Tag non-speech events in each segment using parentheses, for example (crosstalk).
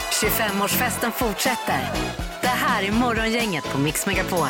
25-årsfesten fortsätter. Det här är Morgongänget på Mix Megapol.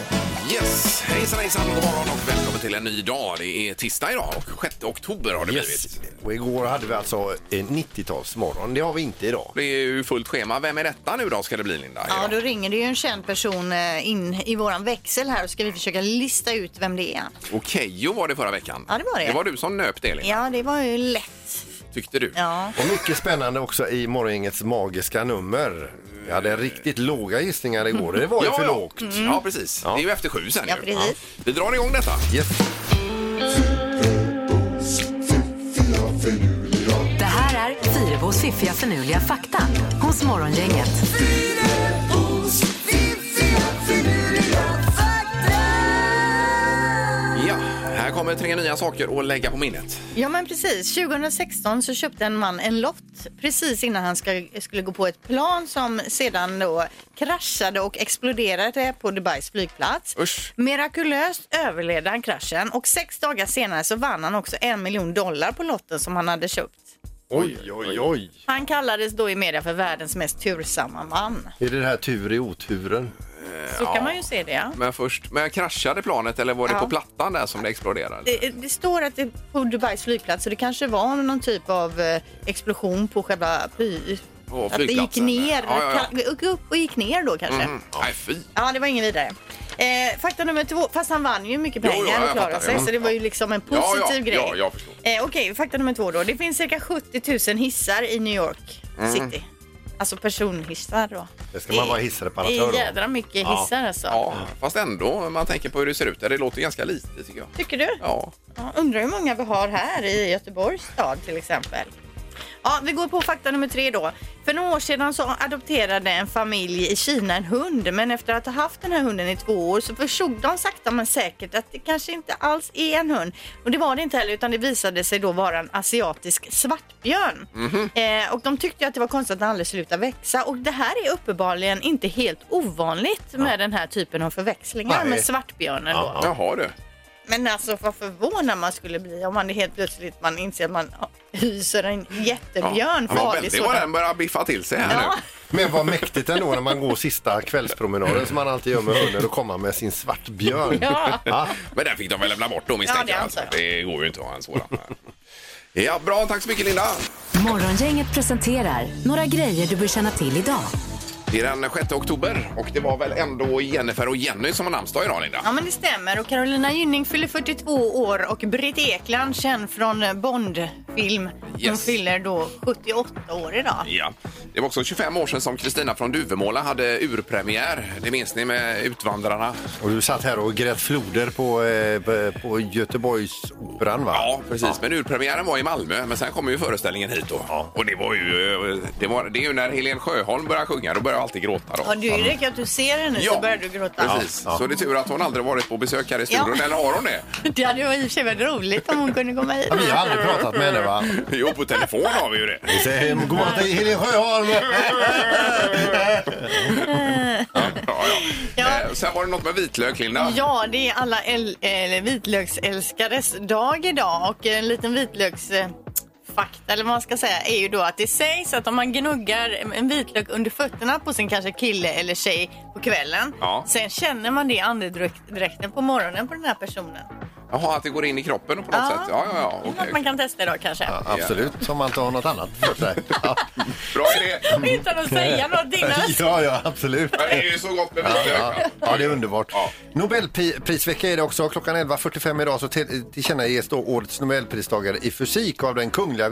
Yes, hejsan hejsan, god morgon och välkommen till en ny dag. Det är tisdag idag och 6 oktober har det blivit. Och igår hade vi alltså en 90-talsmorgon. Det har vi inte idag. Det är ju fullt schema. Vem är detta nu då ska det bli Linda? Ja, idag? då ringer det ju en känd person eh, in i våran växel här och ska vi försöka lista ut vem det är. Och Keyyo var det förra veckan. Ja, det var det. Det var du som nöp det Linda, Ja, det var ju lätt. tyckte du. Ja. Och mycket spännande också i morgongängets magiska nummer. Vi hade riktigt låga gissningar igår. Det var ju Eh. Ja, för ja. lågt. Mm. Ja, precis. Det är ju efter sju sen Ja, ju. precis. Vi drar igång detta. Yes. Det här är Fyrabos fiffiga förnuliga fakta hos Morgongänget. Ja, här kommer tre nya saker att lägga på minnet. Ja, men precis. 2016 så köpte en man en lott precis innan han ska, skulle gå på ett plan som sedan då kraschade och exploderade på Dubais flygplats. Usch. Mirakulöst överlevde han kraschen och sex dagar senare så vann han också en miljon dollar på lotten som han hade köpt. Oj, oj, oj. Han kallades då i media för världens mest tursamma man. Är det det här tur i oturen? Så kan man ju se det. ja. Eh, Men först, men kraschade planet eller var det Ja. på plattan där som det exploderade? Det, det står att det är på Dubais flygplats så det kanske var någon typ av eh, explosion på själva fly... På att det gick flygplatsen. Ja, ner, ja, ja. kan- gick upp och gick ner då kanske. Mm. Nej, fy. Ja, det var ingen vidare. Eh, fakta nummer två, fast han vann ju mycket Jo, pengar jo, jag och klarade fattar. sig Mm. så det var ju liksom en Ja, ja, positiv grej. ja, jag förstår. Eh, Okej, fakta nummer två då. Det finns cirka 70 000 hissar i New York Mm. City. Alltså personhissar då. Det ska man vara Det hissreparatör är då. jädra mycket hissar alltså. Ja, fast ändå, man tänker på hur det ser ut där. Det låter ganska lite tycker jag. Tycker du? Ja, Ja, undrar hur många vi har här i Göteborgs stad till exempel. Ja, vi går på fakta nummer tre då. För några år sedan så adopterade en familj i Kina en hund men efter att ha haft den här hunden i två år så förstod de sakta men säkert att det kanske inte alls är en hund. Och det var det inte heller utan det visade sig då vara en asiatisk svartbjörn. Eh, och de tyckte ju att det var konstigt att den aldrig slutade växa och det här är uppenbarligen inte helt ovanligt med den här typen av förväxlingar Nej. med svartbjörnen då. Ja. jaha du. Men alltså vad förvånad man skulle bli om man helt plötsligt man inser att man hyser en jättebjörn. Ja, vad farlig väldigt vad den sådan. börjar biffa till sig här Ja. nu. Men vad mäktigt ändå när man går sista kvällspromenaden som man alltid gör med hunden och komma med sin svartbjörn. (laughs) Ja. Men den fick de väl lämna bort då misstänker det jag. antar Alltså. Det går ju inte att ha en sådan. ja, bra. Tack så mycket Linda. Morgongänget presenterar några grejer du bör känna till idag. Det är den 6 oktober och det var väl ändå Jennifer och Jenny som har namnsdag idag Linda. Ja men det stämmer och Carolina Gynning fyller 42 år och Britt Ekland känd från Bond-film. Hon Yes. fyller då 78 år idag. Ja. Det var också 25 år sedan som Kristina från Duvemåla hade urpremiär. Det minns ni med Utvandrarna. Och du satt här och grät floder på, eh, på- på Göteborgsoperan va? Ja, precis. Men urpremiären var i Malmö, men sen kom ju föreställningen hit då. Och det var ju... eh, Det, var, det är ju när Helen Sjöholm börjar sjunga, då börjar jag alltid gråta då. Ja, du det räcker att du ser henne så börjar du gråta. Precis. Så det är tur att hon aldrig varit på besök här i studion. Ja. Eller har hon det? (laughs) Det hade ju i och för sig varit roligt om hon kunde komma hit. Ja, Vi har aldrig pratat med henne va? (laughs) Jo, på telefon har vi ju det. Säg hem, god morgon till Helene Sjöholm! Ja, ja. Ja. Eh, Sen var det något med vitlök, Linda. Ja, det är alla el- eller vitlöksälskares dag idag och en liten vitlöks eh, fakta eller vad man ska säga är ju då att det sägs att om man gnuggar en vitlök under fötterna på sin kanske kille eller tjej på kvällen Ja. sen känner man det i andedräkten på morgonen på den här personen. Jaha, att det går in i kroppen på något Ja. sätt. Ja, ja, ja. Det är okej. Något man kan testa idag kanske. Ja, Absolut, om man inte har något annat för sig. Ja, Bra idé. (laughs) Utan att (laughs) säga någonting. Mm. ja, ja absolut. Men det är ju så gott med vitlök. Ja, ja, det är underbart. Ja. Nobelprisvecka är det också. Klockan 11.45 idag så till- tillkännages då årets Nobelpristagare i fysik av den Kungliga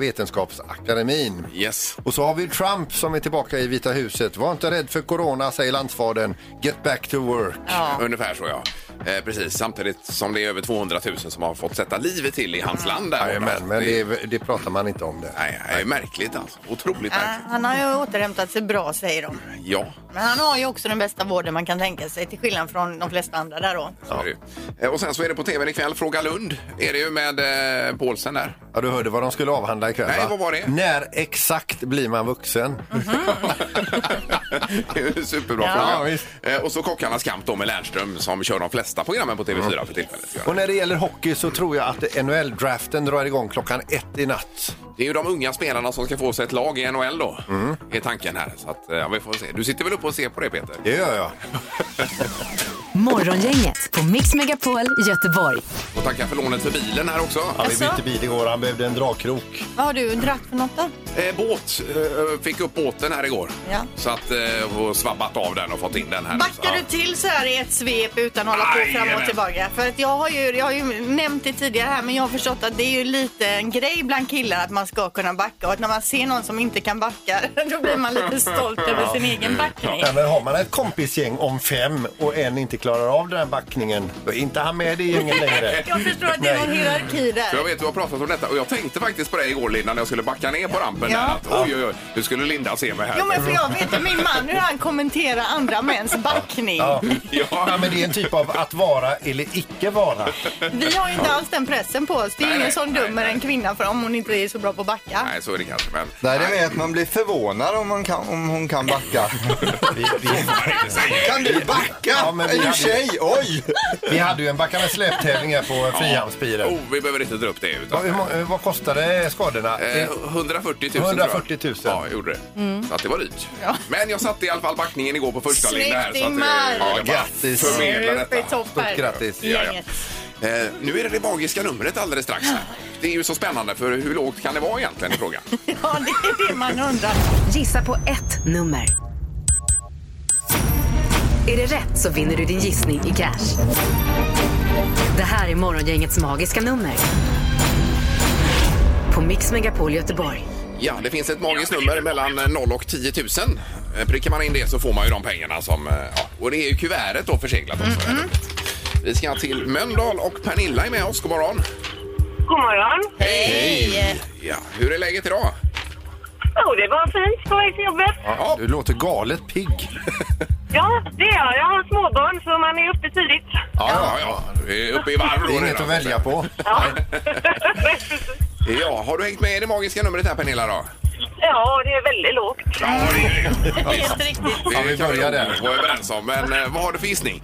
Vetenskapsakademin. Yes. Och så har vi Trump som är tillbaka i Vita huset. Var inte rädd för corona, säger landsfadern. Get back to work. Ja. (laughs) Ungefär så, ja. Eh, precis, samtidigt som det är över 200 000 som har fått sätta livet till i Mm. hans land. Där Jajamän, men det, är- det pratar man inte om det. Nej, det är märkligt alltså. Otroligt Ja, märkligt. Han har ju återhämtat sig bra säger de. Ja, Men han har ju också den bästa vården man kan tänka sig till skillnad från de flesta andra där då. Så är det ju. Eh, Och sen så är det på tv ikväll, Fråga Lund är det ju med eh, Paulsen där. Ja, du hörde vad de skulle avhandla ikväll Nej, vad var det? När exakt blir man vuxen? (laughs) Det är en Superbra Ja. fråga. Ja, visst. Eh, Och så Kockarnas kamp då med Lernström som kör de flesta programmen på Mm. TV4 för tillfället. Och när det gäller hockey så tror jag att NHL-draften drar igång klockan ett i natt. Det är ju de unga spelarna som ska få sig ett lag i NHL då, Mm. är tanken här. Så att, eh, ja, vi får se. Du sitter väl uppe och ser på det Peter? Det gör jag. Morgongänget på Mix Megapol Göteborg. Och tacka för lånet för bilen här också. Ja, vi Jaså? bytte bil igår, han behövde en dragkrok. Vad har du drack för något då? Eh, båt, eh, fick upp båten här igår. Ja. Så att, eh, och svabbat av den och fått in den här. Backar du till så här i ett svep utan att hålla på Aj, fram och jajamän. tillbaka? För att jag har, ju, jag har ju nämnt det tidigare här men jag har förstått att det är ju lite en grej bland killar att man ska kunna backa och att när man ser någon som inte kan backa (laughs) då blir (laughs) man lite stolt över sin Mm. egen backning. Ja, men har man ett kompisgäng om fem och en inte klarar av den här backningen, då är inte han med i gänget (laughs) längre. Jag förstår att det är någon hierarki För jag där. vet att du har pratat om detta och jag tänkte faktiskt på det igår Linda när jag skulle backa ner på rampen. Ja. Där, att, oj, oj, oj, nu skulle Linda se mig här. Jo men för jag vet att min man hur han kommenterar andra mäns backning. Ja, ja. men det är en typ av att vara eller icke vara. Vi har ju inte alls den pressen på oss. Det är Nej, ingen nej, som nej, dömer nej. en kvinna för om hon inte är så bra på att backa. Nej, så är det kanske. Men... Nej, det är att man blir förvånad om, man kan, om hon (laughs) kan backa. Vi, vi, Kan du backa? Ja, men vi- är du tjej? Oj! vi hade ju en backa med släptävling här på Frihamnspiren. Oh, vi behöver inte dra upp det. Vad, Utan, hur, många- vad kostade skadorna? eh, 140 000 140 000. tror jag. Ja, jag gjorde det. Mm. Så att det var dyrt. Men jag satte i alla fall backningen igår på första Snyggt, linjen här. Så att, eh, Ingmar! ja, jag bara Grattis. Förmedla Uppe i detta. toppen. grattis. Ja, ja. Gänget. Eh, nu är det det magiska numret alldeles strax. Här. Det är ju så spännande, för hur lågt kan det vara egentligen i frågan? Ja, det är det man undrar. Gissa på ett nummer. Är det rätt så vinner du din gissning i cash. Det här är Morgongängets magiska nummer. På Mix Megapol Göteborg. Ja, det finns ett magiskt nummer mellan 0 och 10 000. Eh, Prickar man in det så får man ju de pengarna som... eh, Ja. Och det är ju kuvertet då förseglat också. det här numret. Vi ska till Mölndal och Pernilla är med oss. God morgon! God morgon. Hej! Ja, hur är läget idag? Jo, Oh, det var fint på väg till jobbet. Ja, du låter galet pigg. Ja, det är jag. Jag har småbarn så man är uppe tidigt. Ja, ja, ja. Du är uppe i varv. Det då är inget redan. att välja på. Ja, (laughs) Ja, har du hängt med i det magiska numret här Pernilla då? ja det är väldigt lågt. Ja, det är ju det. Helt riktigt. Det Ja, vi kan börjar nog där. vara överens om. Men eh, vad har du för gissning?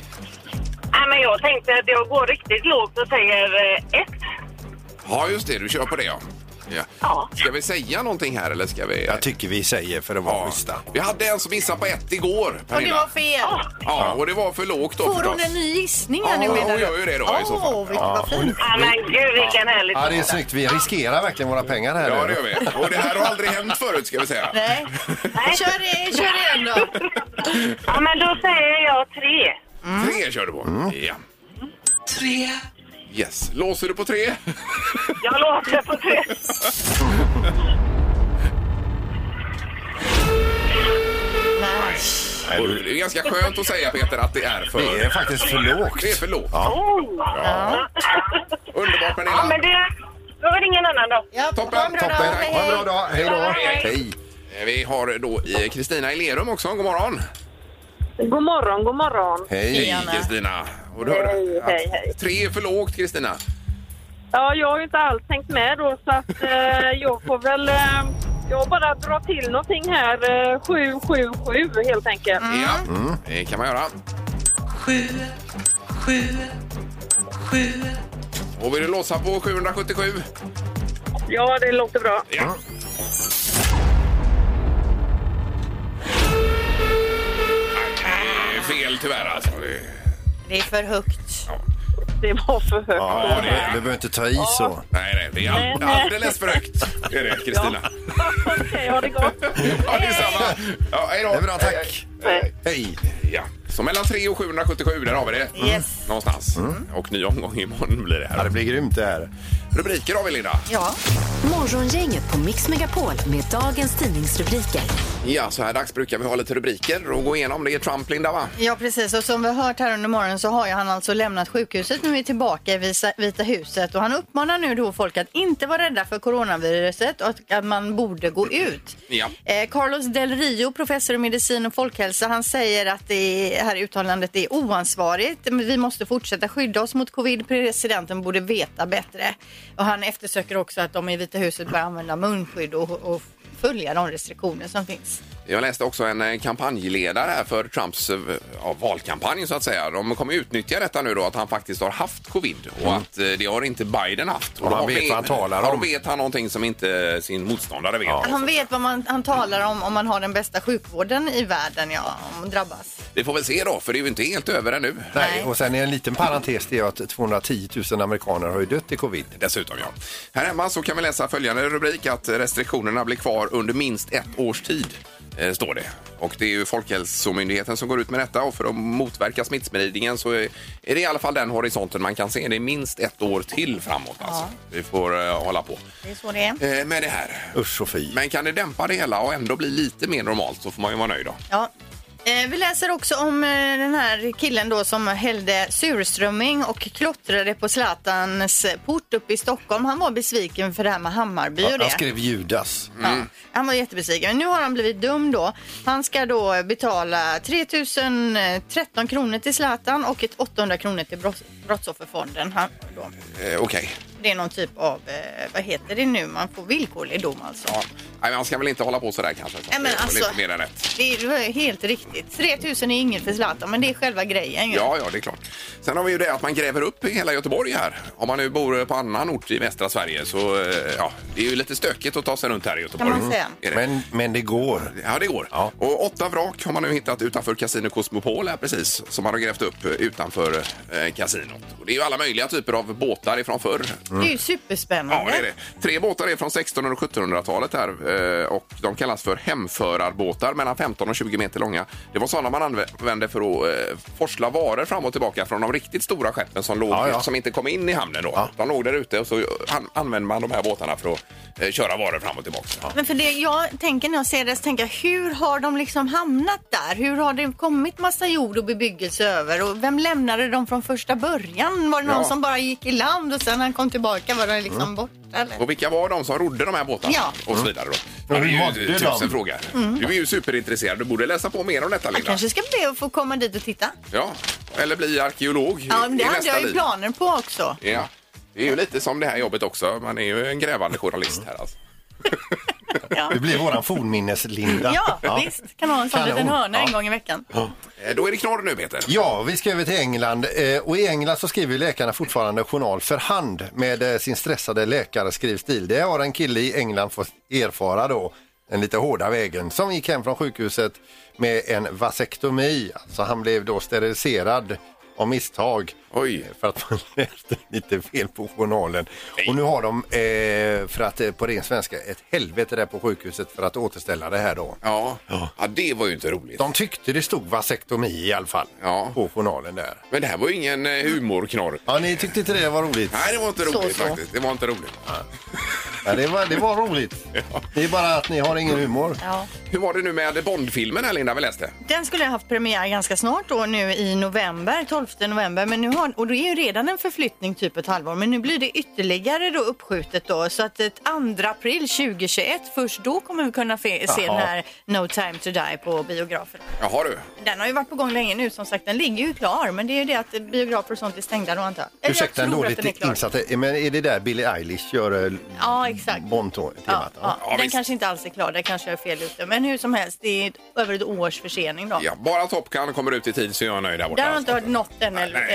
Nej, men jag tänkte att jag går riktigt lågt och säger eh, ett. Ja, just det. Du kör på det, ja. ja. Ja. Ska vi säga någonting här eller ska vi... Jag tycker vi säger för att vara Ja. schyssta. Vi hade en som missade på ett igår, Och det Pernilla. var fel. Ja, och det var för lågt Ah, då Får hon förstås. en ny gissning här nu Ja, menar hon du? gör ju det då i så fall. Åh, vilket vad fint. Ja, men gud vilken härlig Ja, det är torsdag. snyggt. Vi riskerar verkligen våra pengar här Ja, nu. det gör vi. Och det här har aldrig hänt förut ska vi säga. Nej. (laughs) Nej. Kör, i- kör igen då. Ja, men då säger jag tre. Tre kör du på. Mm. Ja. Tre. Yes. Låser du på tre? Jag låter på tre. Nej. Och Det är ganska skönt att säga Peter att det är för... Det är faktiskt för lågt. Det är för lågt. Oh. Ja. Underbart Ja, men Pernilla. det... Då var det ingen annan då. Ja, Toppen, ha en bra dag. toppen. Hej, Ha hej. en bra dag. Hej då. Hej. Hej. Eh, Vi har då i Kristina i Lerum också. God morgon. God morgon, god morgon. Hej. Anna. Kristina. Och du hörde Hej, att hej, hej. Tre är för lågt Kristina. Mm. Ja, jag har ju inte alls tänkt med då så att eh, jag får väl... Eh, jag bara drar till någonting här. Eh, 777 helt enkelt. Mm. Ja, Mm. det kan man göra. Sju, sju, sju. Och vill du låsa på 777? Ja, det låter bra. Mm. Ja. Det är Fel tyvärr alltså. Det- Det är för högt. Det var för högt. Ja, vi behöver inte ta i så. Nej, nej, det är all- Nej, nej. alldeles för högt. Är det, Kristina? eh, Okej, ha det gott. Ja, det är samma. Ja, hej då. Det är bra, tack. Hej. Ja. Så mellan 3 och 777, där har vi det. Yes. Någonstans. Och ny omgång imorgon blir det Ja, här. det blir grymt det här. Rubriker har vi, Linda. Ja. Morgongänget på Mix Megapol med dagens tidningsrubriker. Ja, så här dags brukar vi ha lite rubriker och gå igenom. Det är Trump, Linda, va? Ja, precis. Och som vi har hört här under morgonen så har ju han alltså lämnat sjukhuset. Nu är vi tillbaka i Visa- Vita huset och han uppmanar nu då folk att inte vara rädda för coronaviruset och att- att man borde gå ut. Ja. Eh, Carlos Del Rio, professor i medicin och folkhälsa, han säger att det här uttalandet är oansvarigt. Men Vi måste fortsätta skydda oss mot covid. Presidenten borde veta bättre. Och han eftersöker också att de i Vita huset börjar använda munskydd och, och följa de restriktioner som finns. Jag läste också en eh, kampanjledare här för Trumps eh, ja, valkampanj så att säga. De kommer utnyttja detta nu då att han faktiskt har haft covid och att eh, det har inte Biden haft. Och han då vet vet- vad han talar ja, om. Då vet han någonting som inte sin motståndare vet. Så Han vet vad man, han talar om om man har den bästa sjukvården i världen, ja, om man drabbas. Vi får väl se då, för det är ju inte helt över ännu. Nej, och sen är en liten parentes det är att 210 000 amerikaner har ju dött i covid. Dessutom ja. Här hemma så kan vi läsa följande rubrik att restriktionerna blir kvar under minst ett års tid. eh, Står det. Och det är ju Folkhälsomyndigheten som går ut med detta och för att motverka smittspridningen så är är det i alla fall den horisonten man kan se. Det är minst ett år till framåt alltså. Vi får eh, hålla på Det är så det är. eh, med det här. Usch och fy. Men kan det dämpa det hela och ändå bli lite mer normalt så får man ju vara nöjd då. Ja. Eh, Vi läser också om eh, den här killen då som hällde surströmming och klottrade på Zlatans port uppe i Stockholm. Han var besviken för det här med Hammarby och det. Han skrev Judas. Mm. Ja, han var jättebesviken. Men nu har han blivit dum då. Han ska då betala 3013 kronor till Zlatan och ett 800 kronor till brotts- Brottsofferfonden. Han, då. Eh, Okej. Det är någon typ av, eh, vad heter det nu, man får villkorlig dom alltså. Ja. Nej, men man ska väl inte hålla på sådär kanske. Så Nej, men det är väl alltså- Lite mer än rätt. Det är det var helt riktigt. 3000 är inget för Zlatan, men det är själva grejen ju. Ja, ja, det är klart. Sen har vi ju det att man gräver upp i hela Göteborg här. Om man nu bor på annan ort i västra Sverige så eh, ja, det är ju lite stökigt att ta sig runt här i Göteborg. Mm. Kan man säga. Är det? Men, men det går. Ja, det går. Ja. Och åtta vrak har man nu hittat utanför Casino Cosmopol här precis, som man har grävt upp eh, utanför eh, kasinot. Och det är ju alla möjliga typer av båtar ifrån förr. Det är ju Mm. Ja, superspännande. det är det. Tre båtar är från 1600 och 1700-talet här eh, och de kallas för hemförarbåtar mellan 15 och 20 meter långa. Det var sådana man använde för att eh, forsla varor fram och tillbaka från de riktigt stora skeppen som, låg, Ja, ja. som inte kom in i hamnen då. De låg där ute och så an- använde man de här båtarna för att eh, köra varor fram och tillbaka. Men för det jag tänker när jag ser det så tänker jag, hur har de liksom hamnat där? Hur har det kommit massa jord och bebyggelse över? Och vem lämnade dem från första början? Var det någon Ja. som bara gick i land och sen när han kom tillbaka var de liksom borta eller? Och vilka var de som rodde de här båtarna? Ja. Och så vidare då. Ja, det hur är ju mådde tusen de? frågor. Du är ju superintresserad. Du borde läsa på mer om detta, Jag Linda. Mm. kanske ska be att få komma dit och titta. Ja. Eller bli arkeolog Ja, i men det nästa hade jag ju liv. planer på också. Ja. Det är ju lite som det här jobbet också. Man är ju en grävande journalist här alltså. Ja. Det blir våran fornminnes-Linda. Ja, visst. Kan ha en sån Kanon. liten hörna en Ja. gång i veckan. Eh, Då är det knorr nu Peter. Ja, vi ska över till England eh, och i England så skriver läkarna fortfarande journal för hand med eh, sin stressade läkarskrivstil. Det har en kille i England fått erfara då, den lite hårda vägen, som gick hem från sjukhuset med en vasektomi. Alltså han blev då steriliserad av misstag eh, Oj. för att man (laughs) läste lite fel på journalen. Och nu har de, eh, för att eh, på ren svenska, ett helvete där på sjukhuset för att återställa det här då. Ja. ja, det var ju inte roligt. De tyckte det stod vasektomi i alla fall Ja. på journalen där. Men det här var ju ingen eh, humorknorr. Ja, ni tyckte inte det var roligt? Nej, det var inte Så, roligt så. faktiskt. Det var inte roligt. Ja, det, var, det var roligt. Det är bara att ni har ingen humor. Ja. Hur var det nu med Bondfilmen här Linda vi läste? Den skulle ha haft premiär ganska snart då nu i november, 12 november. Men nu har, och det är ju redan en förflyttning typ ett halvår. Men nu blir det ytterligare då uppskjutet då. Så att ett 2 april 2021, först då kommer vi kunna fe, se den här No time to die på biograferna. Jaha du. Den har ju varit på gång länge nu som sagt. Den ligger ju klar. Men det är ju det att biografer och sånt är stängda då antar jag. Eller jag Ursäkta en tror att den är dåligt klar. insatt. Eh, Men är det där Billie Eilish gör eh, Ja, exakt. Bond-temat? Ja, ja. Ja, den visst. kanske inte alls är klar, där kanske jag är fel ute. Men hur som helst, det är ett- över ett års försening då. Ja, bara Top Gun kommer ut i tid så är jag nöjd där borta. alltså. Där har jag inte hört något än. Nej, eller- nej,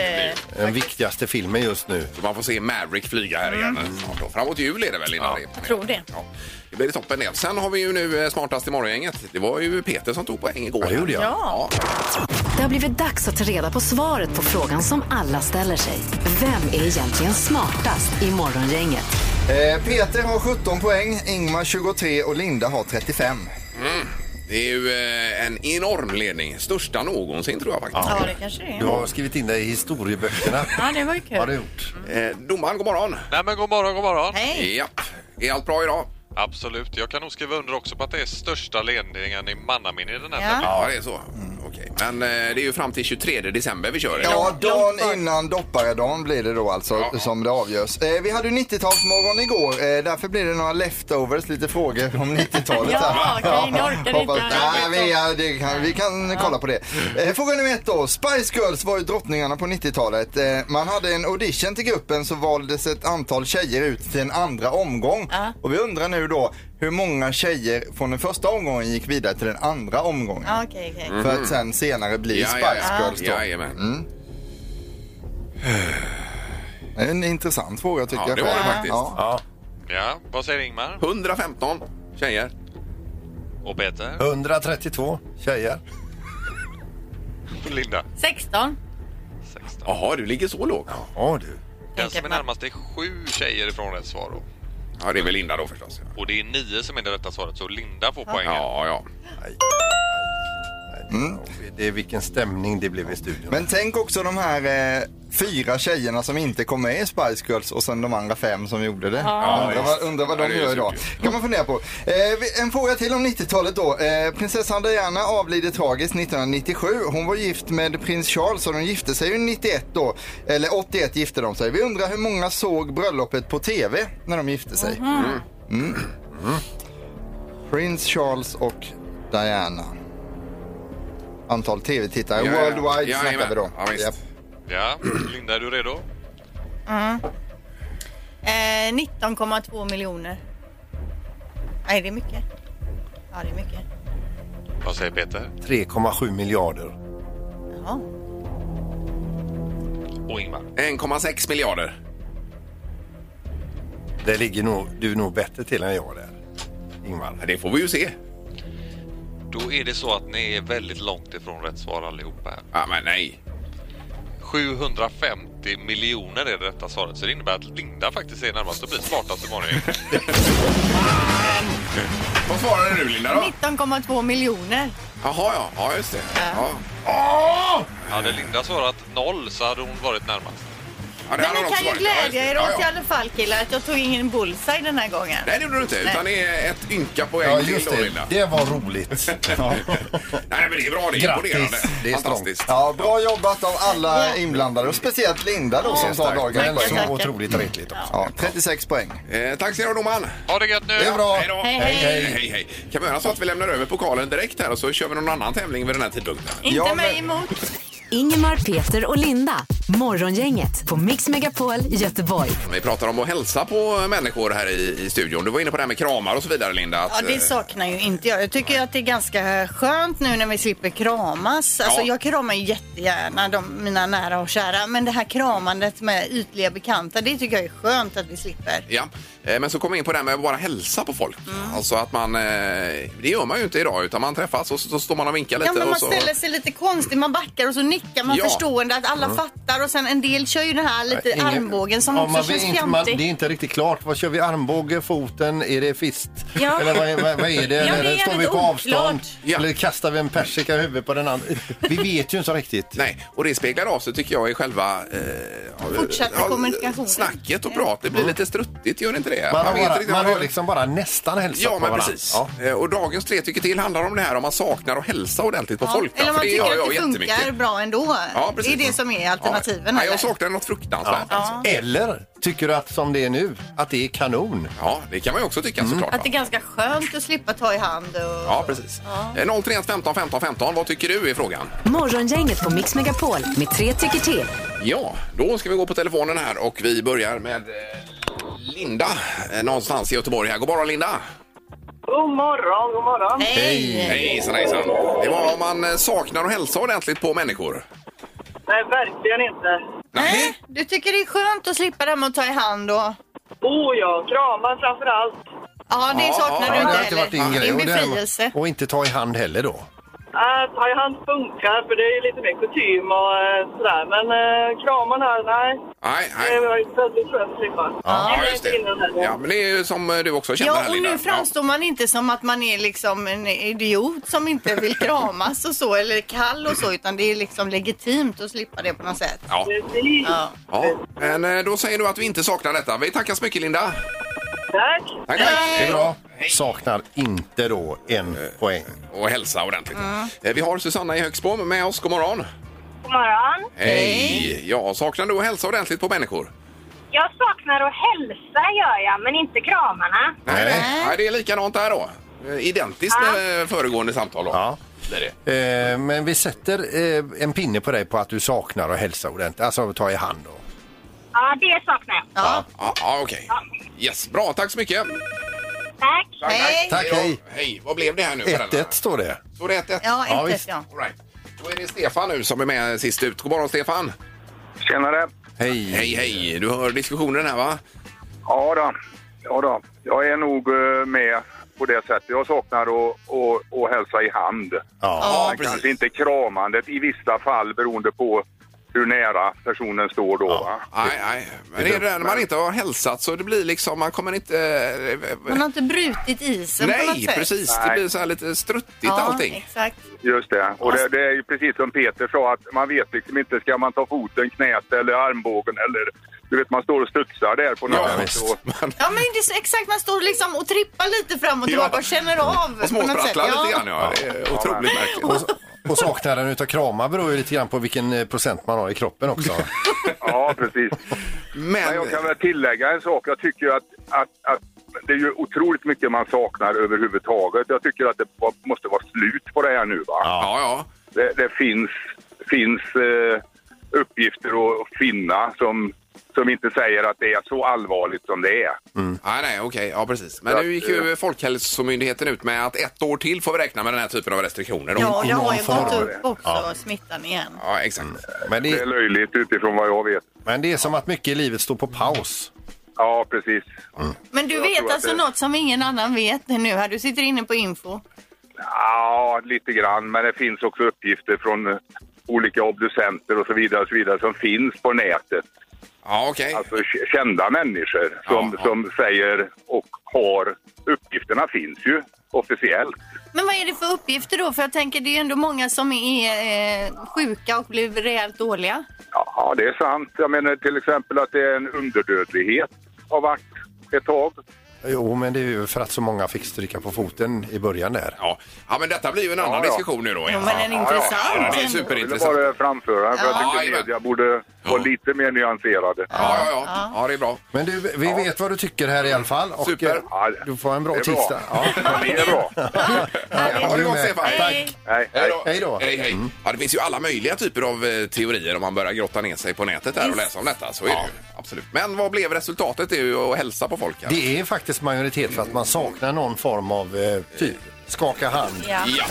det- eh, Den viktigaste filmen just nu. Så man får se Maverick flyga här igen Mm. snart då. Framåt jul är det väl innan det. jag tror det. Ja, det blir toppen det. Sen har vi ju nu eh, smartast i morgongänget. Det var ju Peter som tog poäng igår. Ja, det gjorde jag. Ja. Det har blivit dags att ta reda på svaret på frågan som alla ställer sig. Vem är egentligen smartast i Morgongänget? Eh, Peter har 17 poäng, Ingmar 23 och Linda har 35. Mm. Det är ju eh, en enorm ledning. Största någonsin tror jag faktiskt. Ja, det kanske det Du är. har skrivit in dig i historieböckerna. (laughs) Ja, det var ju Har du kul. gjort? Eh, domaren, god morgon. Nej men god morgon, god morgon. Hej! Japp. Är allt bra idag? Absolut, jag kan nog skriva under också på att det är största ledningen i mannaminne i den här Ja. tävlingen. Ja, det är så. Mm. Okej. Men eh, det är ju fram till 23 december vi kör. Ja, långt bort. dagen innan dopparedagen blir det då alltså Ja. som det avgörs. Eh, vi hade ju 90-talsmorgon igår, eh, därför blir det några leftovers, lite frågor om 90-talet. Ja, här. okej, ni orkar Hoppas- inte. Nej, vi, ja, det kan, vi kan kolla på det. Eh, fråga nummer ett då. Spice Girls var ju drottningarna på 90-talet. Eh, man hade en audition till gruppen så valdes ett antal tjejer ut till en andra omgång. Ja. Och vi undrar nu då hur många tjejer från den första omgången gick vidare till den andra omgången. Ja, Okej, okej. Mm. För att sen senare bli Spice Girls då. Mm. Jajamän. Det är en intressant fråga tycker Ja, jag. det var det själv. faktiskt. Ja. Ja. Ja, vad säger Ingmar 115 tjejer. och Peter 132 tjejer. och Linda? 16. 16. Jaha, du ligger så lågt. Ja, du. Den som tänker är man. närmast är sju tjejer ifrån rätt svar då. Ja, det är väl Linda då förstås. Och det är nio som är det rätta svaret, så Linda får poängen. Ja, ja. Mm. Det är vilken stämning det blev i studion. Men tänk också de här eh, fyra tjejerna som inte kom med i Spice Girls och sen de andra fem som gjorde det. undrar, vad, undrar vad Ja, de det är gör ju idag. kan man fundera på. Eh, vi- en fråga till om 90-talet då. Eh, prinsessan Diana avlider tragiskt 1997. Hon var gift med prins Charles och de gifte sig ju 91 då. Eller 81 gifte de sig. Vi undrar hur många såg bröllopet på TV när de gifte sig. Mm. Prins Charles och Diana. Antal tv-tittare. Ja, ja. Worldwide Ja, snackar vi då. jajamän. Ja, visst. Japp. Ja, Linda, är du redo? Mm. Eh, 19,2 miljoner. Nej, det är mycket. Ja, det är mycket. Vad säger Peter 3,7 miljarder. Jaha. och Ingmar? 1,6 miljarder. Det ligger nog, du är nog bättre till än jag där. Ja, Ingvar. Det får vi ju se. Då är det så att ni är väldigt långt ifrån rätt svar allihopa här. Ja, men nej. 750 miljoner är det rätta svaret, så det innebär att Linda faktiskt är närmast och blir smartast imorgon. (laughs) Vad svarade du Linda då? 19,2 miljoner. Jaha, ja. Ja, just det. Ja. Ah! Hade Linda svarat noll så hade hon varit närmast. Ja, det Men hade hon ni också kan ju varit. Ja, just glädja det. er Ja, åt i ja. alla fall killar att jag tog ingen bullseye den här gången. Nej, det gjorde du inte. Utan det är ett ynka poäng Ja, till just då, det. Linda. Det var (laughs) roligt. Nej, men det är bra. Det är Grattis. imponerande. Det är strångt. Fantastiskt. Ja, bra jobbat av alla Ja. inblandade och speciellt Linda då som tar tack. Mm. dagen. Men Tackar, så tackar. otroligt retligt också. Ja, 36 poäng. Eh, tack ska ni ha, domaren. Ha det gött nu! Det är bra. Hej, då. Hej, hej, hej. hej. hej, hej. Kan vi göra så att vi lämnar över pokalen direkt här och så kör vi någon annan tävling vid den här tidpunkten? Inte Ja, mig men- emot. Ingemar, Peter och Linda. Morgongänget på Mix Megapol Göteborg. Vi pratar om att hälsa på människor här i, i studion. Du var inne på det här med kramar och så vidare, Linda. Att, Ja, det eh, saknar ju inte jag. Jag tycker ju att det är ganska skönt nu när vi slipper kramas. Alltså, Ja. Jag kramar ju jättegärna de, mina nära och kära. Men det här kramandet med ytliga bekanta, det tycker jag är skönt att vi slipper. Ja, Eh, men så kom vi in på det här med att bara hälsa på folk. Mm. Alltså att man, eh, det gör man ju inte idag utan man träffas och så, så står man och vinkar lite. Ja, men man och så... ställer sig lite konstigt, man backar och så nickar man Ja. Mm. förstående att alla fattar och sen en del kör ju den här lite Ingen- armbågen som Ja, också man känns vet inte, man, Det är fjantig. inte riktigt klart. Vad kör vi? Armbåge, foten? Är det fist? Ja. Eller vad, är- vad, vad är det? Ja, det är Eller står vi lite på avstånd? oklart. Ja. Eller kastar vi en persika i huvudet på den andra? Vi vet ju inte riktigt. Nej, och det speglar av sig tycker jag i själva eh, Fortsatta kommunikationen. snacket och prat. Det blir lite struttigt, gör det inte det? Man har, vet inte bara, riktigt man vad- har liksom bara nästan hälsat Ja, på men varandra. precis. Ja. Eh, Och dagens tre tycker till handlar om det här om man saknar att hälsa ordentligt på Ja, folk. Eller om man för det tycker gör jag att det jättemycket. funkar bra ändå. Ja, det precis. är det som är alternativen. Ja. Ja, eller? jag saknar något fruktansvärt. Ja. Alltså. Eller tycker du att som det är nu, att det är kanon? Mm. ja, det kan man ju också tycka såklart. Mm. Att det va? är ganska skönt att slippa ta i hand. Och... Ja, precis. Eh, Ja. 031 15 15 15, vad tycker du är frågan? Morgongänget på Mix Megapol med tre tycker till. Ja, då ska vi gå på telefonen här och vi börjar med eh, Linda eh, någonstans i Göteborg. Här. God morgon Linda! God morgon, god morgon. Hej! Hejsan hejsan! Det var om man eh, saknar att hälsa ordentligt på människor. Nej, verkligen inte. Nej! Du tycker det är skönt att slippa det här med att ta i hand och... Oh ja, kramar framför allt. Ja, det Ja, saknar ja, du det inte har inte heller. varit din Det grej. är Och en det- befrielse. Och inte ta i hand heller då. Nej, Äh, Thai-hand funkar för det är lite mer kutym och eh, sådär. Men äh, kramen här, nej. Nej, Det nej. var ju väldigt skönt att slippa. Ja, Jag just är inte inne det. där. Ja, men det är ju som du också känner Ja, här, och Linda. nu framstår man inte som att man är liksom en idiot som inte vill kramas och så eller kall och så utan det är liksom legitimt att slippa det på något sätt. Ja. Ja. Precis. Ja. Ja, men eh, då säger du att vi inte saknar detta. Vi tackar så mycket Linda. Tack! Tack, tack. Det är bra. Saknar inte då en poäng. Eh, Och hälsa ordentligt. Eh, Vi har Susanna i Högsbom med oss. God morgon. God morgon! Hej! Ja, saknar du att hälsa ordentligt på människor? Jag saknar att hälsa gör jag, men inte kramarna. Nej, nej. nej det är likadant där då. Eh, Identiskt med eh, föregående samtal då. Ja. Det är det. Eh, men vi sätter eh, en pinne på dig på att du saknar att hälsa ordentligt. Alltså ta i hand då. Ja, det saknar jag. Ja. Ja, ja okej. Yes, bra. Tack så mycket. Tack! Tack, Hej. tack. Tack, hej. då. hej. Vad blev det här nu? för 1-1 denna? står det. Står det 1-1? Ja, Ja, inte visst. ja. All right. Då är det Stefan nu som är med sist ut. God morgon Stefan. Tjenare. Hej. Hej, hej. Du hör diskussionen här va? Ja då. ja då. Jag är nog eh, med på det sättet. Jag saknar att, att, att hälsa i hand. Ja. Ja, Men kanske inte kramandet i vissa fall beroende på hur nära personen står då. Va? Nej, nej. Men det är det där när man inte har hälsat så det blir liksom, man kommer inte... eh, Man har inte brutit isen på något Nej, sätt. precis. Det Nej. blir så här lite struttigt Ja, allting. exakt. Just det. Och det, det är ju precis som Peter sa att man vet liksom inte ska man ta foten, knät eller armbågen eller du vet man står och studsar där på något Ja, sätt. visst. Och- Man Ja, men det är så, exakt. Man står liksom och trippar lite fram och tillbaka Ja. och känner av. på något sätt. småprattlar Ja. lite grann, ja. Det är Eh, otroligt märkligt. Och saknaden utav kramar beror ju lite grann på vilken eh, procent man har i kroppen också. Ja, precis. Men Men... jag kan väl tillägga en sak. Jag tycker att, att, att det är ju otroligt mycket man saknar överhuvudtaget. Jag tycker att det va- måste vara slut på det här nu. Va? Ja, ja. Det, det finns, finns eh, uppgifter att finna som, som inte säger att det är så allvarligt som det är. Nej, Ah, nej, okej. Ja, precis. Men nu gick ju Folkhälsomyndigheten ut med att ett år till får vi räkna med den här typen av restriktioner. då. Ja, det har ju någon gått form. upp också, smittan igen. (laughs) Ja, exakt. Mm. Men Det är det, löjligt utifrån vad jag vet. men det är som att mycket i livet står på paus. Ja, precis. Men du Jag tror vet att alltså det- något som ingen annan vet nu här. Du sitter inne på info. Ja, lite grann. Men det finns också uppgifter från eh, olika obducenter och så vidare, och så vidare som finns på nätet. Ja, okej. Alltså k- kända människor som, Ja, ja. som säger och har uppgifterna finns ju officiellt. Men vad är det för uppgifter då? För jag tänker det är ju ändå många som är eh, sjuka och blir rejält dåliga. Ja, det är sant. Jag menar till exempel att det är en underdödlighet har varit ett tag. Jo, men det är ju för att så många fick stryka på foten i början där. Ja. ja, men detta blir ju en annan ja. diskussion nu då. Ja, Ja, men den är ja, intressant. ja, det är ändå. Jag ville superintressant. bara framföra den för Ja. jag tycker Jajamän. media borde vara lite mer nyanserade. Ja, ja, ja. ja, det är bra. Men du, vi vet vad du tycker här i alla fall. Och Super. eh, Du får en bra Det är bra. tisdag. (laughs) Ja. Det är bra. Ja, ha det du gott, med. Stefan. Tack. Nej, Hej nej. då. Hej då. Mm. Hej, hej. Ja, det finns ju alla möjliga typer av eh, teorier om man börjar grotta ner sig på nätet där och läsa om detta. Så är det ju. Absolut. Men vad blev resultatet? Det är ju att hälsa på folk. Här. Det är faktiskt majoritet för att man saknar någon form av eh, typ skaka hand. Ja. Ja,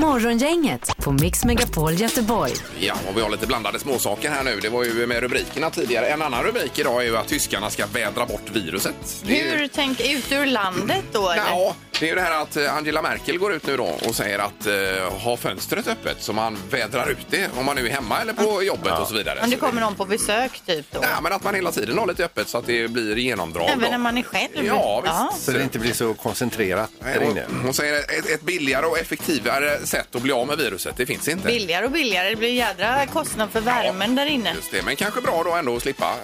Morgongänget på Mix Megapol Göteborg. ja, och vi har lite blandade småsaker här nu. Det var ju med rubrikerna tidigare. En annan rubrik idag är ju att tyskarna ska vädra bort viruset. Det är ju- Hur tänker ut ur landet då? eller? Ja, det är ju det här att eh, Angela Merkel går ut nu då och säger att eh, ha fönstret öppet så man vädrar ut det om man nu är hemma eller på jobbet och så vidare. Om det Så det- kommer någon på besök typ då? Nej, men att man hela tiden har lite öppet så att det blir genomdrag. då. Även när man är själv? Ja, visst. Så det inte blir så koncentrerat Nej, där hon, inne. hon säger att ett, ett billigare och effektivare sätt att bli av med viruset, det finns inte. Billigare och billigare. Det blir jädra kostnad för värmen där inne. Just det, men kanske bra då ändå att slippa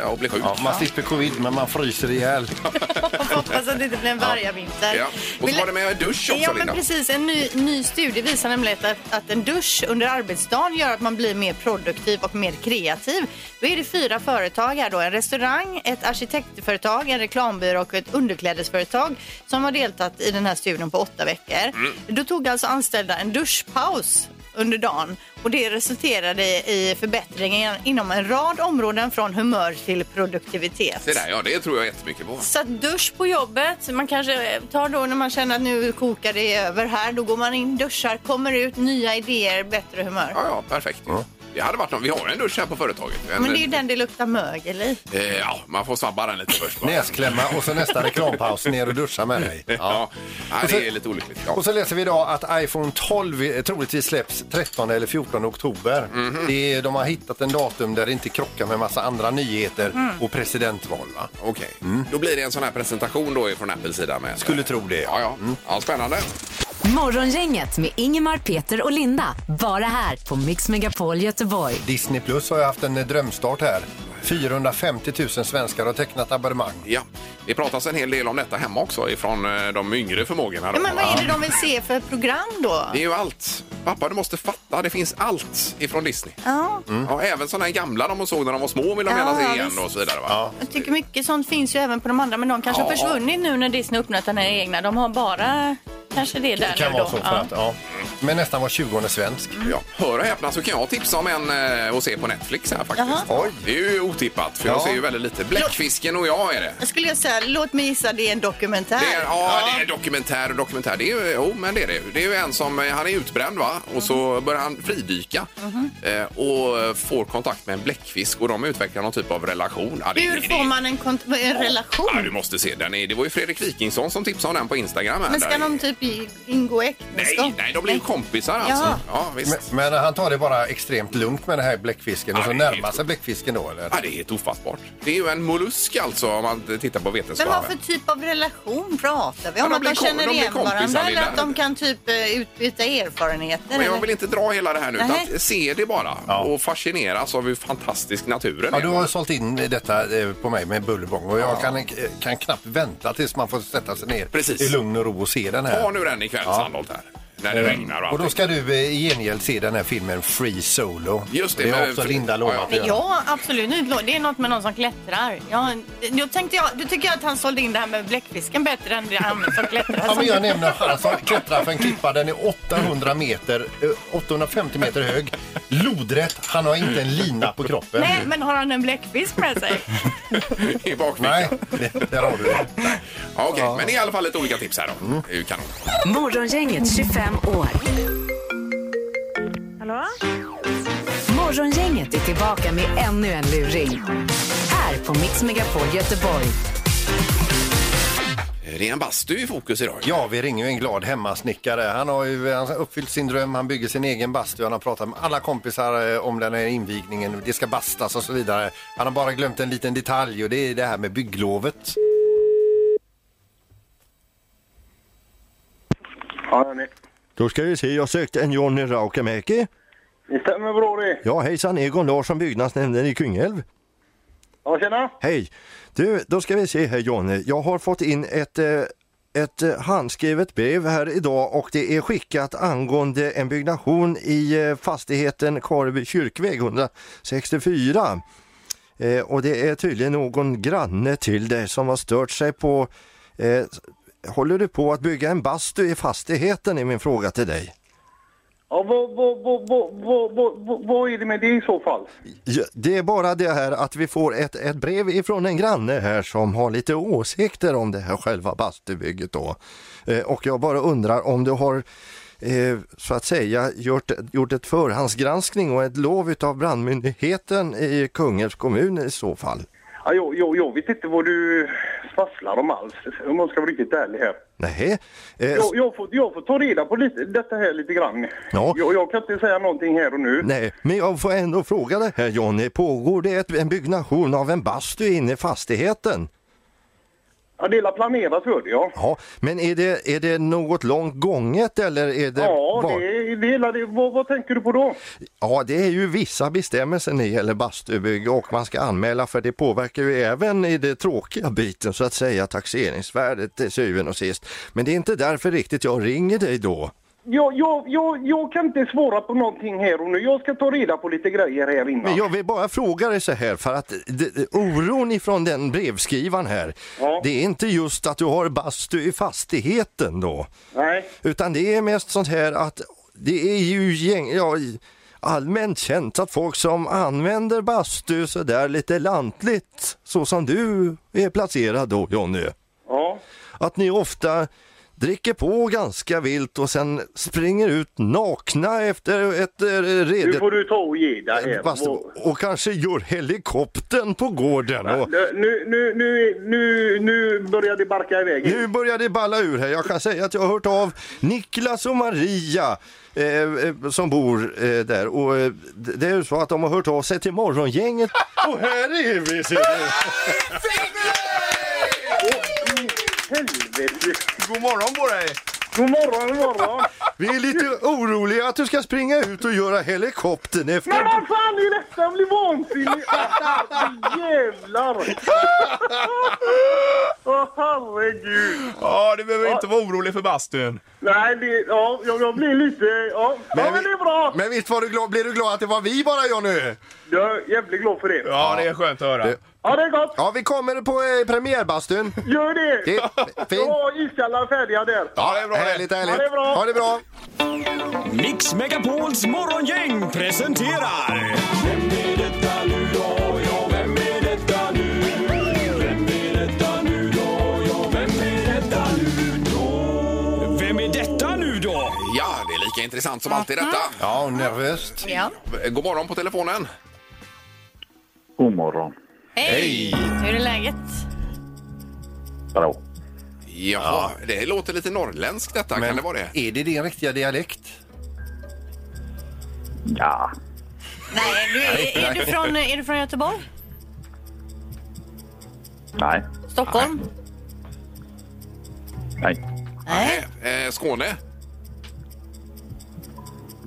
eh, att bli sjuk. Ja, man slipper covid men man fryser ihjäl. Man får hoppas att det inte blir en vargavinter. Ja. Och Vill- så var det med dusch också, Ja, men Linda. precis. En ny, ny studie visar nämligen att, att en dusch under arbetsdagen gör att man blir mer produktiv och mer kreativ. Då är det fyra företag här då. En restaurang, ett arkitektföretag, en reklambyrå och ett underklädesföretag som har deltagit i den här studien på åtta veckor. Mm. Då tog alltså anställda en duschpaus under dagen och det resulterade i förbättringar inom en rad områden från humör till produktivitet. Det där, ja, det tror jag jättemycket på. Så att dusch på jobbet. Man kanske eh, tar då när man känner att nu kokar det över här. Då går man in, duschar, kommer ut, nya idéer, bättre humör. Ja, ja, perfekt. ju. Det hade varit någon. Vi har en dusch här på företaget. En, Men det är ju den det luktar mögel i. eh, ja, man får svabba den lite först. bara. Näsklämma och så nästa reklampaus ner och duscha med dig. (laughs) Ja. Nej, Och så- det är lite olyckligt. Ja. Och så läser vi idag att iPhone 12 är- troligtvis släpps 13 eller 14 oktober. Mhm. Det är, de har hittat en datum där det inte krockar med massa andra nyheter och presidentval. Va? Mm. Mm. Okej. Då blir det en sån här presentation då från Apples sida med. Skulle tro det. Mm. Ja, ja. ja spännande. Morgongänget med Ingemar, Peter och Linda. Bara här på Mix Megapol Göteborg. Disney Plus har ju haft en eh, drömstart här. 450 000 svenskar har tecknat abonnemang. Ja. Det pratas en hel del om detta hemma också ifrån eh, de yngre förmågorna. då. Ja, men vad är det de vill se för program då? Det är ju allt. Pappa, du måste fatta. Det finns allt ifrån Disney. Ja, Ja, även sådana här gamla de såg när de var små vill de gärna Ja, se igen visst. och så vidare. Va? jag tycker mycket sånt finns ju även på de andra men de kanske har Ja. försvunnit nu när Disney öppnat den här egna. De har bara kanske det där Det kan nu vara då. så för Ja. att, ja. Men nästan var 20 svensk. Ja, hör och häpna så kan jag tipsa om en eh, och se på Netflix här faktiskt. Jaha. Oj. Det är ju otippat för jag ser ju väldigt lite. Bläckfisken och jag är det. Jag skulle jag säga, låt mig gissa, det är en dokumentär. Det är, ja, det är dokumentär och dokumentär. Det är ju, jo, men det är det. Det är ju en som, eh, han är utbränd va? Och så börjar han fridyka. Mhm. Eh, och får kontakt med en bläckfisk och de utvecklar någon typ av relation. Ja, det- Hur det- får man en, kont- en Ja, du relation? måste se den. Är, det var ju Fredrik Wikingsson som tipsade om den på Instagram. här. Men ska Där- de typ i- ingå äktenskap? Nej, nej, de blir ju kompisar alltså. Jaha. Ja, visst. Men, men han tar det bara extremt lugnt med den här bläckfisken och Ja, så det är närmar helt sig bläckfisken då eller? Ja, det är helt ofattbart. Det är ju en mollusk alltså om man tittar på Men vad vetenskapen. för typ av relation pratar vi Ja, om? de att blir de kom- känner de blir igen kompisar, varandra eller Linda. att de kan typ eh, utbyta erfarenheter? Men jag eller? vill inte dra hela det här nu, Nej. utan se det bara Ja. och fascineras av hur fantastisk naturen Ja, är. du har sålt in detta eh, på mig med bullerbång och jag kan, eh, kan knappt vänta tills man får sätta sig ner Precis. i lugn och ro och se den här. Ta nu den ikväll, Ja. Sandholt, här. (laughs) När det regnar och Eh, Och allting. då ska du eh, i gengäld se den här filmen Free Solo. Just det, det har men- också Linda lovat Ja, att ja. göra. Ja, absolut. Nu, det är något med någon som klättrar. Ja, då, tänkte jag, då tycker jag att han sålde in det här med bläckfisken bättre än det han som klättrar. Ja, men jag nämner han som klättrar för en klippa. Den är 800 meter, eh, 850 meter hög. Lodrätt. Han har inte en lina på kroppen. Nej, men har han en bläckfisk med sig? I bakfickan. Nej, det- där har du det. Mm. Ja, okej. Men det är i alla fall lite olika tips här då. Det är ju kanon. Morgongänget 25 år. Hallå? Morgongänget är tillbaka med ännu en luring. Här på Mix Megapol Göteborg. Det är en Eh, bastu i fokus idag. Ja, vi ringer ju en glad hemmasnickare. Han har ju han har uppfyllt sin dröm, han bygger sin egen bastu, han har pratat med alla kompisar eh, om den här invigningen, det ska bastas och så vidare. Han har bara glömt en liten detalj och det är det här med bygglovet. Ja, ni. Då ska vi se, jag sökte en Johnny Raukamäki. Det stämmer bra det. Ja hejsan, Egon Larsson, byggnadsnämnden i Kungälv. Ja, tjena. Hej! Du, då ska vi se här Johnny. Jag har fått in ett, eh, ett eh, handskrivet brev här idag och det är skickat angående en byggnation i eh, fastigheten Karleby kyrkväg 164. Eh, och det är tydligen någon granne till dig som har stört sig på... Eh, håller du på att bygga en bastu i fastigheten är min fråga till dig. Ja, vad, vad, vad, vad, vad, vad, vad är det med det i så fall? Ja, det är bara det här att vi får ett, ett brev ifrån en granne här som har lite åsikter om det här själva bastubygget då. Eh, och jag bara undrar om du har eh, så att säga gjort, gjort ett förhandsgranskning och ett lov utav brandmyndigheten i Kungälvs kommun i så fall? Ja, jag, jag, jag vet inte vad du svasslar om alls, om jag ska vara riktigt ärlig här. Nej. Eh, Jag, jag, får, jag får ta reda på lite, detta här lite grann. Ja. Jag, jag kan inte säga någonting här och nu. Nej, men jag får ändå fråga det här Johnny, pågår det ett, en byggnation av en bastu inne i fastigheten? Ja, det är planerat hörde jag. Ja, men är det, är det något långt gånget eller är det Ja, bara- det är det, är- det, vad, vad tänker du på då? Ja, det är ju vissa bestämmelser när det gäller bastubygge och man ska anmäla för det påverkar ju även i det tråkiga biten så att säga taxeringsvärdet till syvende och sist. Men det är inte därför riktigt jag ringer dig då. Jag, jag, jag, jag kan inte svara på någonting här och nu. Jag ska ta reda på lite grejer här innan. Men jag vill bara fråga dig så här för att det, oron ifrån den brevskrivaren här, Ja. det är inte just att du har bastu i fastigheten då. Nej. Utan det är mest sånt här att det är ju gäng, ja, allmänt känt att folk som använder bastu så där lite lantligt, så som du är placerad då Jonny, Ja. att ni ofta dricker på ganska vilt och sen springer ut nakna efter ett eh, Nu redet får du ta och ge dig här. Fast- Och- och kanske gör helikoptern på gården. Och Nu, nu, nu, nu, nu börjar det barka iväg. nu börjar det balla ur här. Jag kan säga att jag har hört av Niklas och Maria eh, eh, som bor eh, där. Och eh, d- det är ju så att de har hört av sig till morgongänget. Och här är vi! ser du. Helvete. God morgon på dig! God morgon, god morgon. Vi är lite oroliga att du ska springa ut och göra helikoptern Men efter... vad fan är detta? Jag blir vansinnig. (laughs) Alltså, Jävlar. Åh herregud. Ja, du behöver inte vara orolig för bastun. Nej, det, ja, jag, jag blir lite... Ja, ja men det är bra. Men visst var du glad, blev du glad att det var vi bara Johnny? Jag är jävligt glad för det. Ja, det är skönt att höra. Ja, det är gott. Ja, vi kommer på eh, premiärbastun. Gör det. Det, Jag fint. har iskallar färdiga där. Ja, det är bra det. Härligt, härligt. Ja, det är bra. Ha det bra. Mix Megapols morgongäng presenterar... Vem är detta nu då? Ja, det är lika intressant som alltid detta. Ja, nervöst. Ja. God morgon på telefonen. God morgon. Hej! Hur är läget? Hallå. Jaha, det låter lite norrländskt detta. Kan det vara det? Är det din riktiga dialekt? Ja. Nej, du, är, är, du från, är du från Göteborg? Nej. Stockholm? Nej. Nej. Eh, Skåne?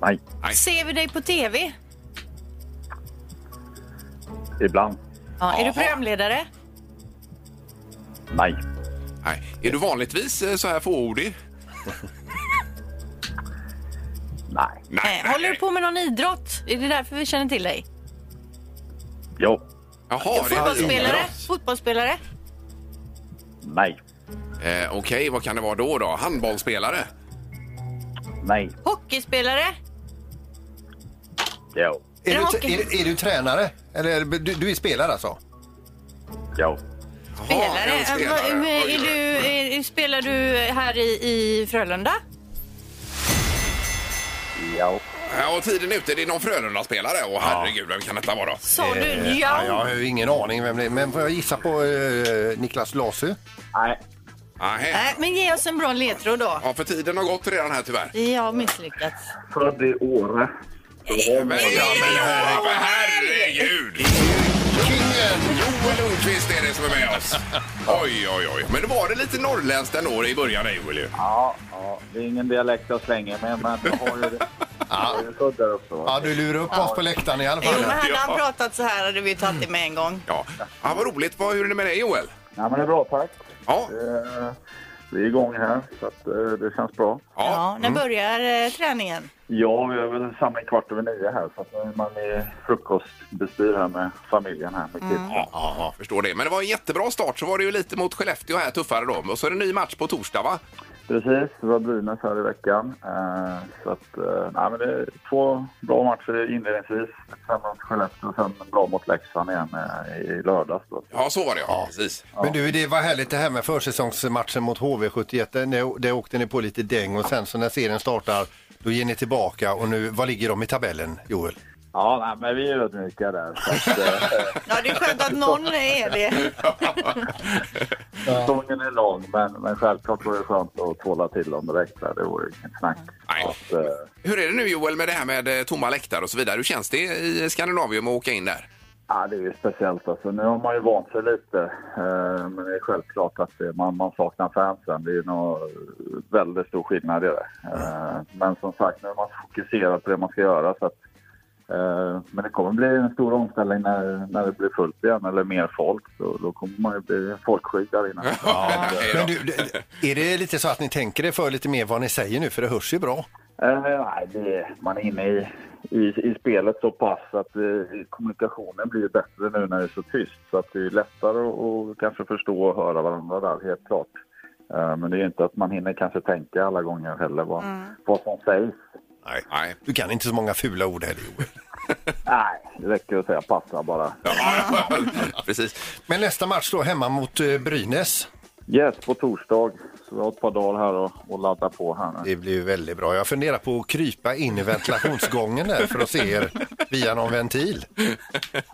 Nej. Ser vi dig på TV? Ibland. Ja, är du programledare? Nej. Nej. Är du vanligtvis eh, så här fåordig? Nej. Nej. Håller du på med någon idrott? Är det därför vi känner till dig? Jo. Jaha, det är Fotbollsspelare? idrott. Fotbollsspelare? Nej. Eh, Okej, vad kan det vara då? då? Handbollsspelare? Nej. Hockeyspelare? Jo. Är Ja, du, okej. är, är du tränare? Eller är du, du är spelare alltså? Jaha, Jo. Spelare? en spelare. Äh, Oj, vad- oj, Är oj. du, är, spelar du här i, i Frölunda? Jo. Ja, och tiden är ute. Det är någon Frölunda-spelare. Åh, herregud, vem kan detta vara då? Sa Eh. du Eh, Ja, jag ja? har ju ingen aning vem det är, men får jag gissa på eh, Niklas Lasu? Nej. Nähä. Nej, men ge oss en bra ledtråd då. Ja, för tiden har gått redan här tyvärr. Jag har misslyckats. Född i Åre. Men, ja, men, herre- herregud! Kingen Joel Lundqvist är det som är med oss. Oj, oj, oj. Men var det lite norrländskt ändå i början, där, Joel? ju. Ja, ja, det är ingen dialekt jag slänger med, men jag (laughs) har ju det. Jag har ju född där uppe. va? Ja, du lurar upp oss på läktaren i alla Jo, men fall. hade han pratat så här hade vi ju tagit det med en gång. Ja. ja, vad roligt. Vad, hur är det med dig, Joel? Ja, men det är bra, tack. Ja, Eh, Vi är igång här, så att, eh, det känns bra. ja. Mm. Ja, Mm. när börjar eh, träningen? Ja, vi är väl samma i kvart över nio här, så att nu är man i frukostbestyr här med familjen här med kidsen. Ja, ja, ja, förstår det. Men det var en jättebra start. Så var det ju lite mot Skellefteå här, tuffare då. Och så är det en ny match på torsdag, va? Precis, det var Brynäs här i veckan. Eh, Så att, eh, nej, men det är två bra matcher inledningsvis. Sen mot Skellefteå och sen bra mot Leksand igen eh, i lördags. Då. Ja, så var det, ja. Precis. Men du, det var härligt det här med försäsongsmatchen mot HV71. Där, ni- där åkte ni på lite däng och sen så när serien startar då ger ni tillbaka och nu, vad ligger de i tabellen, Joel? Ja, nej, men vi är ödmjuka där. Så att, eh, (laughs) Ja, det är skönt att någon är det. Säsongen är lång, men, men självklart var det skönt att tvåla till dem direkt. Där. Det vore inget snack. Nej. Så att, eh, Hur är det nu, Joel, med det här med eh, tomma läktare och så vidare? Hur känns det i Skandinavium att åka (laughs) in där? Ja, det är ju speciellt. Alltså, nu har man ju vant sig lite. Eh, Men det är självklart att det, man, man saknar fansen. Det är ju nog väldigt stor skillnad i det. Eh, Men som sagt, nu har man fokuserat på det man ska göra. Så att, eh, men det kommer bli en stor omställning när, när det blir fullt igen, eller mer folk. Så, då kommer man ju bli folkskygg där inne. (laughs) Hej då. Men du, det- är det lite så att ni tänker er för lite mer vad ni säger nu för det hörs ju bra? Eh, nej, det, man är inne i, i, i spelet så pass att eh, kommunikationen blir bättre nu när det är så tyst. Så att det är lättare att och kanske förstå och höra varandra där, helt klart. Eh, men det är ju inte att man hinner kanske tänka alla gånger heller vad, vad som sägs. Nej. Nej. Du kan inte så många fula ord heller, Joel. Nej, det räcker att säga passa bara. Precis. (laughs) Men nästa match då hemma mot eh, Brynäs. Yes, på torsdag. Så vi har ett par dagar här och, och ladda på här nu. Det blir ju väldigt bra. Jag funderar på att krypa in i ventilationsgången där för att se er via någon ventil.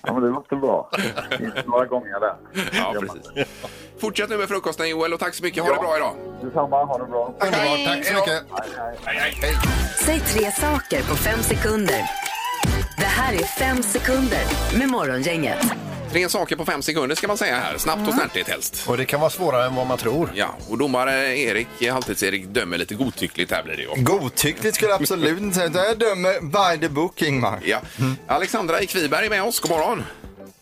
Ja, men det låter bra. Det finns några gånger där. Ja, precis. Fortsätt nu med frukosten Joel och tack så mycket. Ha det bra idag. Detsamma, ha det bra. Underbart, tack så mycket. Säg tre saker på fem sekunder. Det här är fem sekunder med Morgongänget. Tre saker på fem sekunder ska man säga här. Snabbt Mm. och snärtigt helst. Och det kan vara svårare än vad man tror. Ja, och domare Erik, eh, halvtids-Erik, dömer lite godtyckligt här blir det ju. Godtyckligt skulle jag absolut inte säga. utan Jag dömer by the book, Ingmar. Ja. Mm. Alexandra i Kviberg är med oss. God morgon!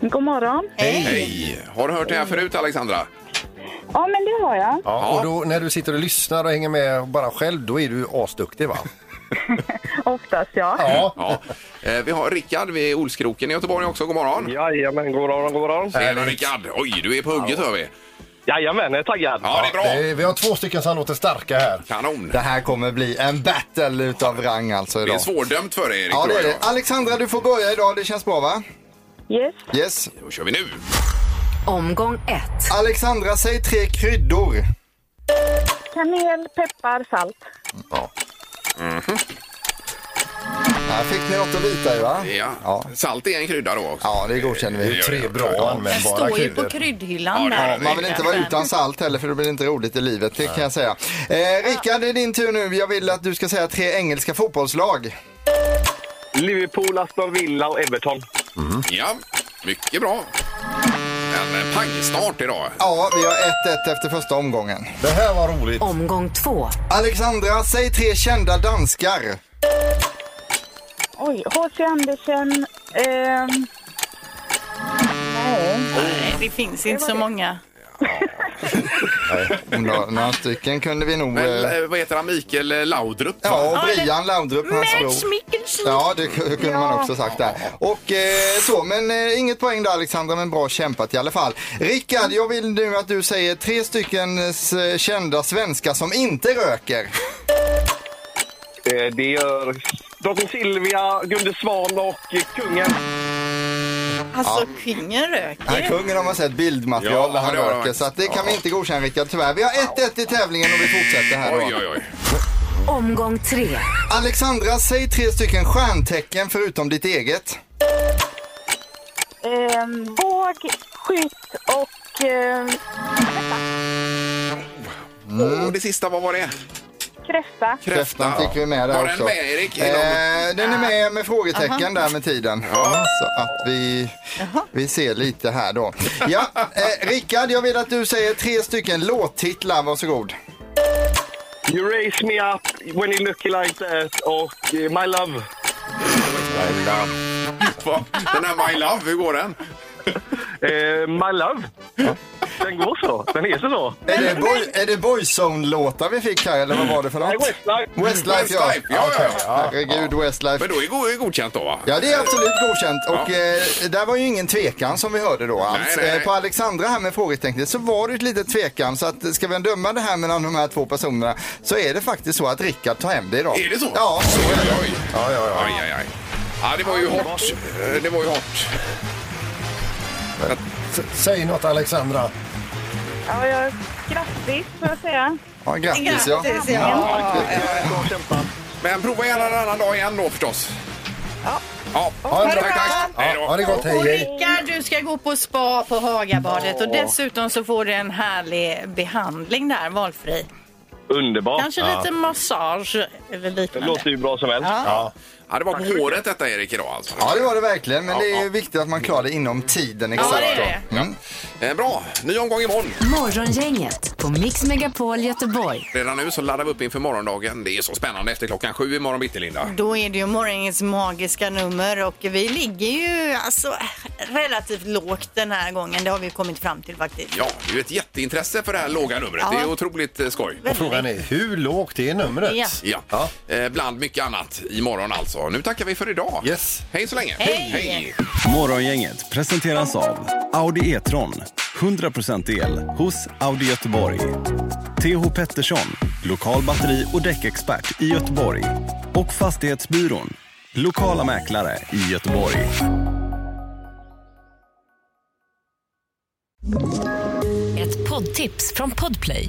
God morgon. Hej! Har du hört det här förut, Alexandra? Ja, men det har jag. Ja, och då, när du sitter och lyssnar och hänger med bara själv, då är du asduktig va? Oftast, ja. Ja. Ja. Eh, Vi har Rickard vid Olskroken i Göteborg också. God morgon! Jajamän, god morgon, god morgon. Tjena Rickard! Oj, du är på hugget hör vi. Jajamän, jag är taggad. Ja, det är bra! Det är- Eh, Vi har två stycken som låter starka här. Kanon! Det här kommer bli en battle utav rang alltså Det är idag. svårdömt för dig Erik. Ja, det tror är jag. det. Alexandra, du får börja idag. Det känns bra, va? Yes. Yes. Då kör vi nu! Omgång ett. Alexandra, säg tre kryddor. Kanel, peppar, salt. Här fick ni något att bita i, va? Ja. Ja, Salt är en krydda då också. ja det godkänner vi. Tre bra Det användbara står ju på kryddor. kryddhyllan Ja, det är där. det. Man vill inte vara utan salt heller för då blir det inte roligt i livet, det kan jag säga. Eh, Rickard, det är din tur nu. Jag vill att du ska säga tre engelska fotbollslag. Liverpool, Aston Villa och Everton. Ja, mycket bra. En eh, pangstart idag. Ja, vi har 1-1 efter första omgången. Det här var roligt. Omgång två. Alexandra, säg tre kända danskar. Oj, H.C. Andersen. ehm, nej. Nej, det finns inte så många. Några, några stycken kunde vi nog... Men, Eh, eh, vad heter han? Mikael eh, Laudrup? ja, och Ja, eller- Brian Laudrup, hans Mats bror. Mikkelsen! Ja, det k- kunde man också sagt där. Och eh, så, men eh, inget poäng där Alexandra, men bra kämpat i alla fall. Rickard, jag vill nu att du säger tre stycken eh, kända svenskar som inte röker. Eh, Det gör drottning Silvia, Gunde Svan och kungen. Alltså, kungen Nej, röker. kungen har man sett bildmaterial Ja, där han det har man. röker, så att det kan vi inte godkänna Rickard, tyvärr. Vi har 1-1 i tävlingen och vi fortsätter här Oj, då. oj, oj. Omgång tre. Alexandra, säg tre stycken stjärntecken förutom ditt eget. Ehm, båg, skytt och ehm, Och det sista, vad var det? kräfta. Mm. Kräftan fick vi med där Var också. den med, Erik? Eh, den är med med frågetecken där med tiden. Så att vi, vi ser lite här då. Ja, eh, Rickard, jag vill att du säger tre stycken låttitlar, varsågod. You raise me up when you look like that och eh, My Love. Va? (laughs) Den här My Love, hur går den? Eh, my Love. Den går så. Den heter så. Är det, boy, är det Boyzone-låtar vi fick här, eller vad var det för Nej, något? Westlife. Westlife, ja. Westlife, ja, ja, ja. Herregud, Westlife. Men då är go- är godkänt då, va? Ja, det är absolut godkänt. Och Ja. eh, där var ju ingen tvekan som vi hörde då alls. Nej, nej, nej. Eh, på Alexandra här med frågetecknet så var det ett litet tvekan. Så att, ska vi döma det här mellan de här två personerna så är det faktiskt så att Rickard tar hem det idag. Är det så? Ja. Oj, oj, oj. Ja, ja, ja. Aj, aj, aj. Ja, det var ju hårt. Eh, Det var ju hårt. S- Säg något Alexandra. Ja, jag, grattis får jag säga. ja grattis ja. Grattis, ja. Men prova gärna en annan dag igen då förstås. Ja. Ha det bra. Tack, tack. Hej Ja, ha då. det gott, hej Och hej. Rickard, du ska gå på spa på Hagabadet och dessutom så får du en härlig behandling där, valfri. Underbart. Kanske lite massage eller Det liknande. låter ju bra som helst. Ja, det var på håret detta Erik idag alltså. Ja, det var det verkligen. Men Ja, det är ja. ju viktigt att man klarar det inom tiden. Exakt Ja, det är det. då. Mm. Eh, Bra, ny omgång imorgon. Morgongänget på Mix Megapol Göteborg. Redan nu så laddar vi upp inför morgondagen. Det är så spännande efter klockan sju imorgon bitti, Linda. Då är det ju morgonens magiska nummer och vi ligger ju alltså relativt lågt den här gången. Det har vi kommit fram till faktiskt. Ja, det är ju ett jätteintresse för det här låga numret. Det är otroligt eh, skoj. Väldigt. Frågan är hur lågt är numret? Ja. Ja, Eh, bland mycket annat imorgon alltså. Nu tackar vi för idag. Yes. Hej så länge. Hej. Morgongänget presenteras av Audi E-tron. 100% el hos Audi Göteborg. TH Pettersson, lokal batteri och däckexpert i Göteborg. Och Fastighetsbyrån, lokala mäklare i Göteborg. Ett poddtips från Podplay.